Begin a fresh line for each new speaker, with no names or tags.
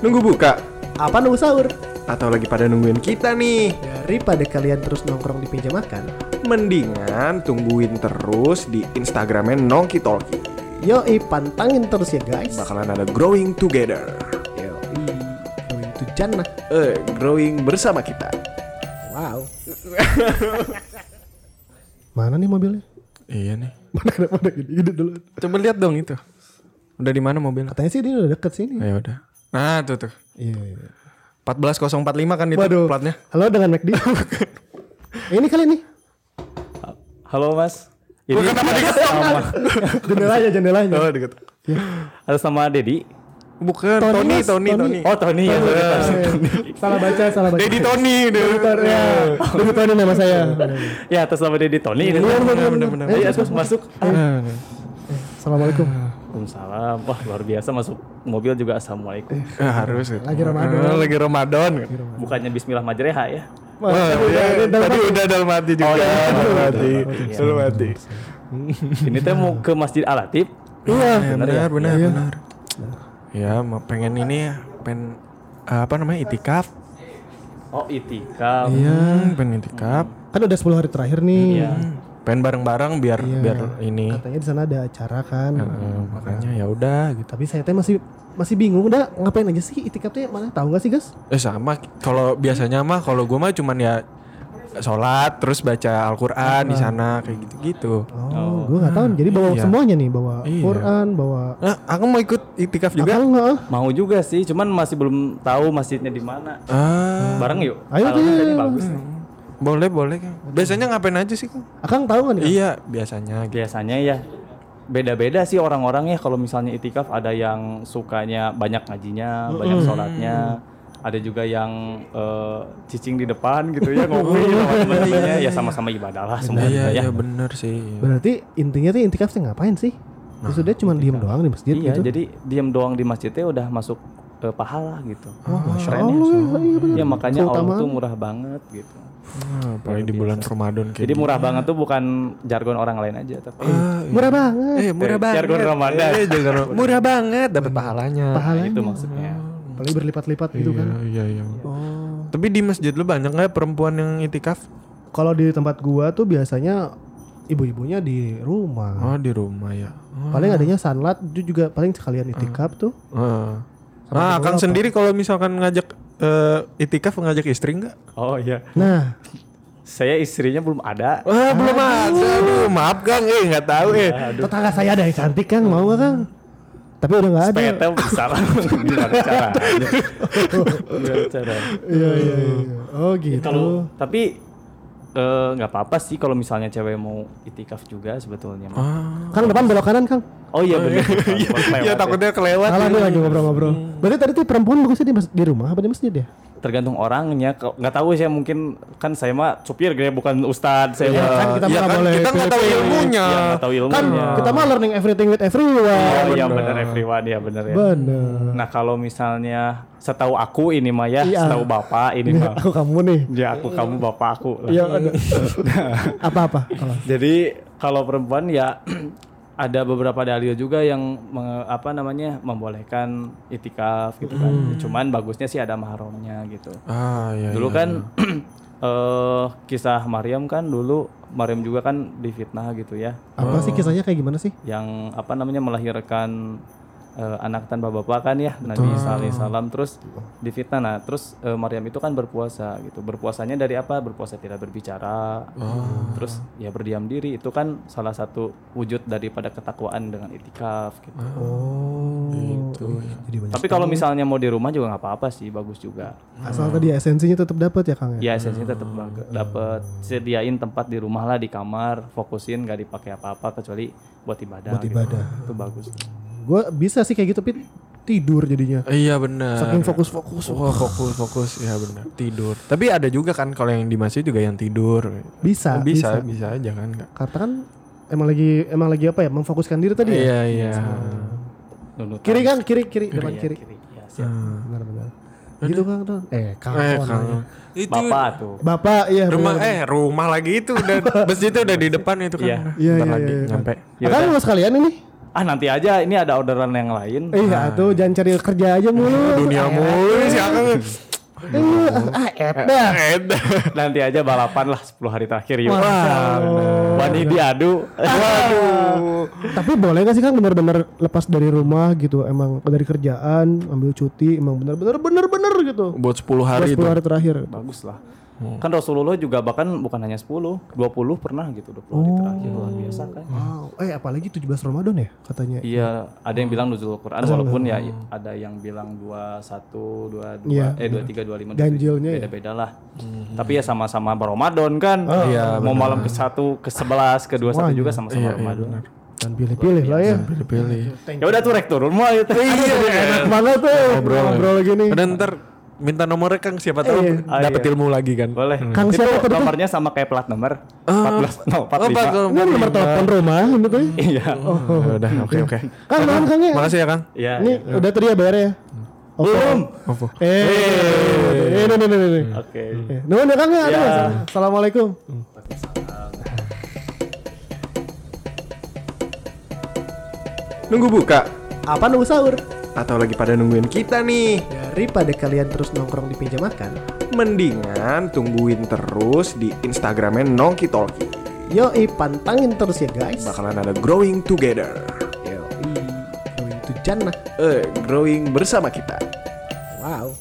Nunggu buka?
Apa nunggu sahur?
Atau lagi pada nungguin kita nih?
Daripada kalian terus nongkrong di meja makan,
Mendingan tungguin terus di Instagramnya Nongki Talki.
yoi pantangin terus ya guys.
Bakalan ada growing together.
Yoi, going to jannah.
Eh, growing bersama kita.
Wow. Mana nih mobilnya?
Iya nih.
Mana kenapa ada gini, gini dulu?
Coba lihat dong itu. Udah di mana mobilnya?
Katanya sih dia udah deket sini.
Ya udah. Nah, tuh tuh.
Iya. iya.
14045 kan itu
Waduh.
platnya.
Halo dengan McD. ini kali nih.
Halo Mas. Ini sama,
Jendelanya, jendelanya.
Oh, deket.
atas nama Dedi.
Bukan
Tony,
Tony, Tony,
Mas, Tony. Iya.
Tony.
Oh Tony ya. Tony.
Eh, salah baca, salah baca.
Dedi Tony, Dedi.
Bentar, ya. Bentar, ini nama saya.
ya atas nama Dedi Tony. Ini
Bener, bener, bener.
Ayo Mas, masuk.
Assalamualaikum.
Waalaikumsalam. Wah luar biasa masuk mobil juga assalamualaikum.
Ah, harus itu.
Lagi Ramadan.
Ah, Lagi Ramadan.
Bukannya Bismillah Majreha ya.
Wah,
ya, tadi
udah.
udah dalam hati juga.
Oh, iya.
Dalam hati.
Iya.
Dalam hati.
Ini teh mau ke Masjid Al Latif.
Iya.
Ah, benar, benar,
Iya.
benar. Ya, mau pengen ini ya, pengen apa namanya itikaf.
Oh itikaf.
Hmm, pengen itikaf.
Kan udah 10 hari terakhir nih.
Iya.
Pengen bareng-bareng biar
Iya.
biar ini.
Katanya di sana ada acara kan.
Eh, makanya ya udah gitu.
Tapi saya teh masih masih bingung udah ngapain aja sih itikaf teh mana tahu nggak sih guys?
Eh sama kalau biasanya mah kalau gue mah cuman ya sholat terus baca Al-Qur'an di sana kayak gitu-gitu.
Oh, gue nggak tahu. nih. Jadi bawa
Iya.
semuanya nih, bawa
Iya.
Quran, bawa
Nah, aku mau ikut itikaf juga.
Akang, heeh.
Mau juga sih, cuman masih belum tahu masjidnya di mana.
Ah,
Bareng yuk.
Ayo,
Kalau
ayo,
tadi
ayo.
bagus.
boleh boleh. Kang. Biasanya ngapain aja sih? Kang?
Akang tahu nggak nih?
Iya, biasanya gitu.
Biasanya ya beda-beda sih orang-orang ya kalau misalnya itikaf ada yang sukanya banyak ngajinya, banyak sholatnya. Ada juga yang eh, cicing di depan gitu ya ngopi sama temennya ya sama-sama ibadah lah semuanya
Iya,
ya.
iya bener sih.
Berarti intinya tuh intikaf teh ngapain sih?
Nah,
Ya sudah cuma diem doang di masjid
Iya,
gitu.
jadi diam doang di masjidnya udah masuk eh, pahala gitu.
Wah, Ah, Masya
Keren ya.
Allah, iya benar.
Ya makanya Allah
Keutamaan.
tuh murah banget gitu.
Ah, apalagi di bulan Ramadan kayak
Jadi
gitu.
murah banget tuh bukan jargon orang lain aja tapi
Ah, iya.
Murah banget.
Eh, murah
Eh,
banget.
jargon Ramadan.
Eh, jargon- murah banget dapat pahalanya.
Pahalanya.
Nah, itu maksudnya.
Paling berlipat-lipat gitu
Iya,
kan.
iya, iya. Tapi di masjid lu banyak nggak perempuan yang itikaf?
Kalau di tempat gua tuh biasanya ibu-ibunya di rumah.
Oh, di rumah ya. Oh. Hmm.
Paling adanya sanlat itu juga paling sekalian itikaf tuh.
Heeh. Nah, Kang sendiri kalau misalkan ngajak eh, itikaf ngajak istri nggak?
Oh iya.
Nah,
Saya istrinya Eh, belum ada.
Wah, belum ada. Ah, Aduh, maaf Kang, eh nggak tahu eh.
tetangga saya ada yang cantik kan mau nggak Kang? Tapi udah nggak ada.
PT bisa lah gimana caranya Gimana caranya?
Iya iya iya. Oh gitu.
kalau tapi eh, nggak apa-apa sih kalau misalnya cewek mau itikaf juga sebetulnya Mas.
Kang depan belok kanan Kang.
oh iya benar
Ya
iya,
takutnya kelewat.
Salah nih lagi ngobrol-ngobrol. Berarti tadi tuh perempuan bagusnya di, mas- di rumah apa di masjid ya?
tergantung orangnya Ke- nggak tahu saya mungkin kan saya mah supir gitu ya bukan ustad saya mah-
kan kita
Ya
malah
kan
boleh
kita nggak tahu ilmunya.
ya, nggak tahu
Kan
ilmunya
kita mah learning everything with everyone.
oh iya benar everyone ya benar ya
Bener.
nah kalau misalnya setahu aku ini mah ya
Iya.
setahu bapak ini mah
Aku kamu nih.
ya aku kamu bapak aku lah.
Ya aduh. apa-apa kalau
Jadi kalau perempuan ya ada beberapa dalil juga yang menge- apa namanya membolehkan itikaf gitu kan. Cuman bagusnya sih ada mahromnya gitu.
Ah, iya.
Dulu
iya.
kan eh kisah Maryam kan dulu Maryam juga kan difitnah gitu ya.
apa sih kisahnya kayak gimana sih?
Yang apa namanya melahirkan eh, anak tanpa bapak kan ya Nabi Isa alaihissalam terus difitnah. Nah, terus eh, Maryam itu kan berpuasa gitu. Berpuasanya dari apa? Berpuasa tidak berbicara.
Oh.
Terus ya berdiam diri itu kan salah satu wujud daripada ketakwaan dengan itikaf gitu.
Oh, gitu. Jadi banyak.
Tapi kalau misalnya mau di rumah juga nggak apa-apa sih, bagus juga.
Asal tadi esensinya tetap dapat ya Kang ya.
Ya esensinya tetap bag- dapet sediain tempat di rumah lah di kamar, fokusin nggak dipakai apa-apa kecuali buat ibadah.
Buat
gitu.
ibadah.
Itu bagus.
Gue bisa sih kayak gitu tapi tidur jadinya.
Iya benar.
Saking fokus-fokus.
Wah, fokus fokus ya benar. Tidur. Tapi ada juga kan kalau yang di masjid juga yang tidur.
Bisa,
bisa,
Iya, bisa.
bisa, aja kan Kak.
Karena kan emang lagi emang lagi apa ya? Memfokuskan diri tadi ya.
Iya, iya.
Nunutan.
Kiri Kang, kiri kiri, depan
Ya,
Iya, kiri. Ah,
kiri. Ya, siap.
Benar-benar. Gitu Kang tuh. Eh, Kang.
Eh,
orang ya.
Kang. Itu
Bapak tuh.
Bapak iya.
rumah
benar.
eh rumah lagi itu udah masjidnya udah di depan itu kan.
Iya.
Iya,
Bentar
iya,
lagi
iya, iya.
nyampe.
Akang mau sekalian ini.
ah nanti aja ini ada orderan yang lain
Iya tuh jangan cari kerja aja mulu.
Dunia mulu sih Eh, Akang.
Eh, ah, ep dah.
nanti aja balapan lah 10 hari terakhir yuk
Wah,
wani diadu
Waduh. Tapi boleh gak sih kan bener-bener lepas dari rumah gitu emang dari kerjaan ambil cuti emang bener-bener bener-bener gitu.
buat 10 hari itu.
10 hari terakhir.
bagus lah kan Rasulullah juga bahkan bukan hanya 10 20 pernah gitu 20 hari terakhir luar biasa kan
Wow. Eh apalagi 17 Ramadan ya katanya.
Iya, ada yang bilang nuzul Quran walaupun ya ada yang bilang 21, 22,
Iya,
eh 23, 25
Ganjilnya ya.
beda-beda lah. Tapi ya sama-sama Ramadan kan.
Iya,
Mau malam ke-1, ke-11, ke-21 juga sama-sama Ramadan.
Dan pilih-pilih lah ya. Iya,
Pilih.
ya udah tuh rek turun gitu. mau itu.
Enak banget tuh ngobrol, gini.
Dan ntar minta nomornya Kang siapa tahu dapat ilmu lagi kan.
Boleh.
Kang
Hmm. itu
siapa tuh?
nomornya sama kayak plat nomor 14
Oh,
no, 45.
Ini nomor telepon rumah ini tuh.
Iya.
Ya Udah, oke oke.
Kang, kang, kang ya.
Makasih ya Kang.
Iya.
Oh.
iya,
Ini udah tadi ya bayarnya ya. Opo.
Belum.
Apa?
Eh, eh, ini, ini, ini, ini.
Oke.
Eh, Nuhun ya kang ya. Aduh,
Iya.
Assalamualaikum.
Nunggu buka
Apa nunggu sahur?
atau lagi pada nungguin kita nih?
Daripada kalian terus nongkrong di meja makan,
Mendingan tungguin terus di Instagramnya Nongki Talki.
yoi pantangin terus ya guys.
Bakalan ada growing together.
Yoi, itu jannah.
Eh, growing bersama kita.
Wow.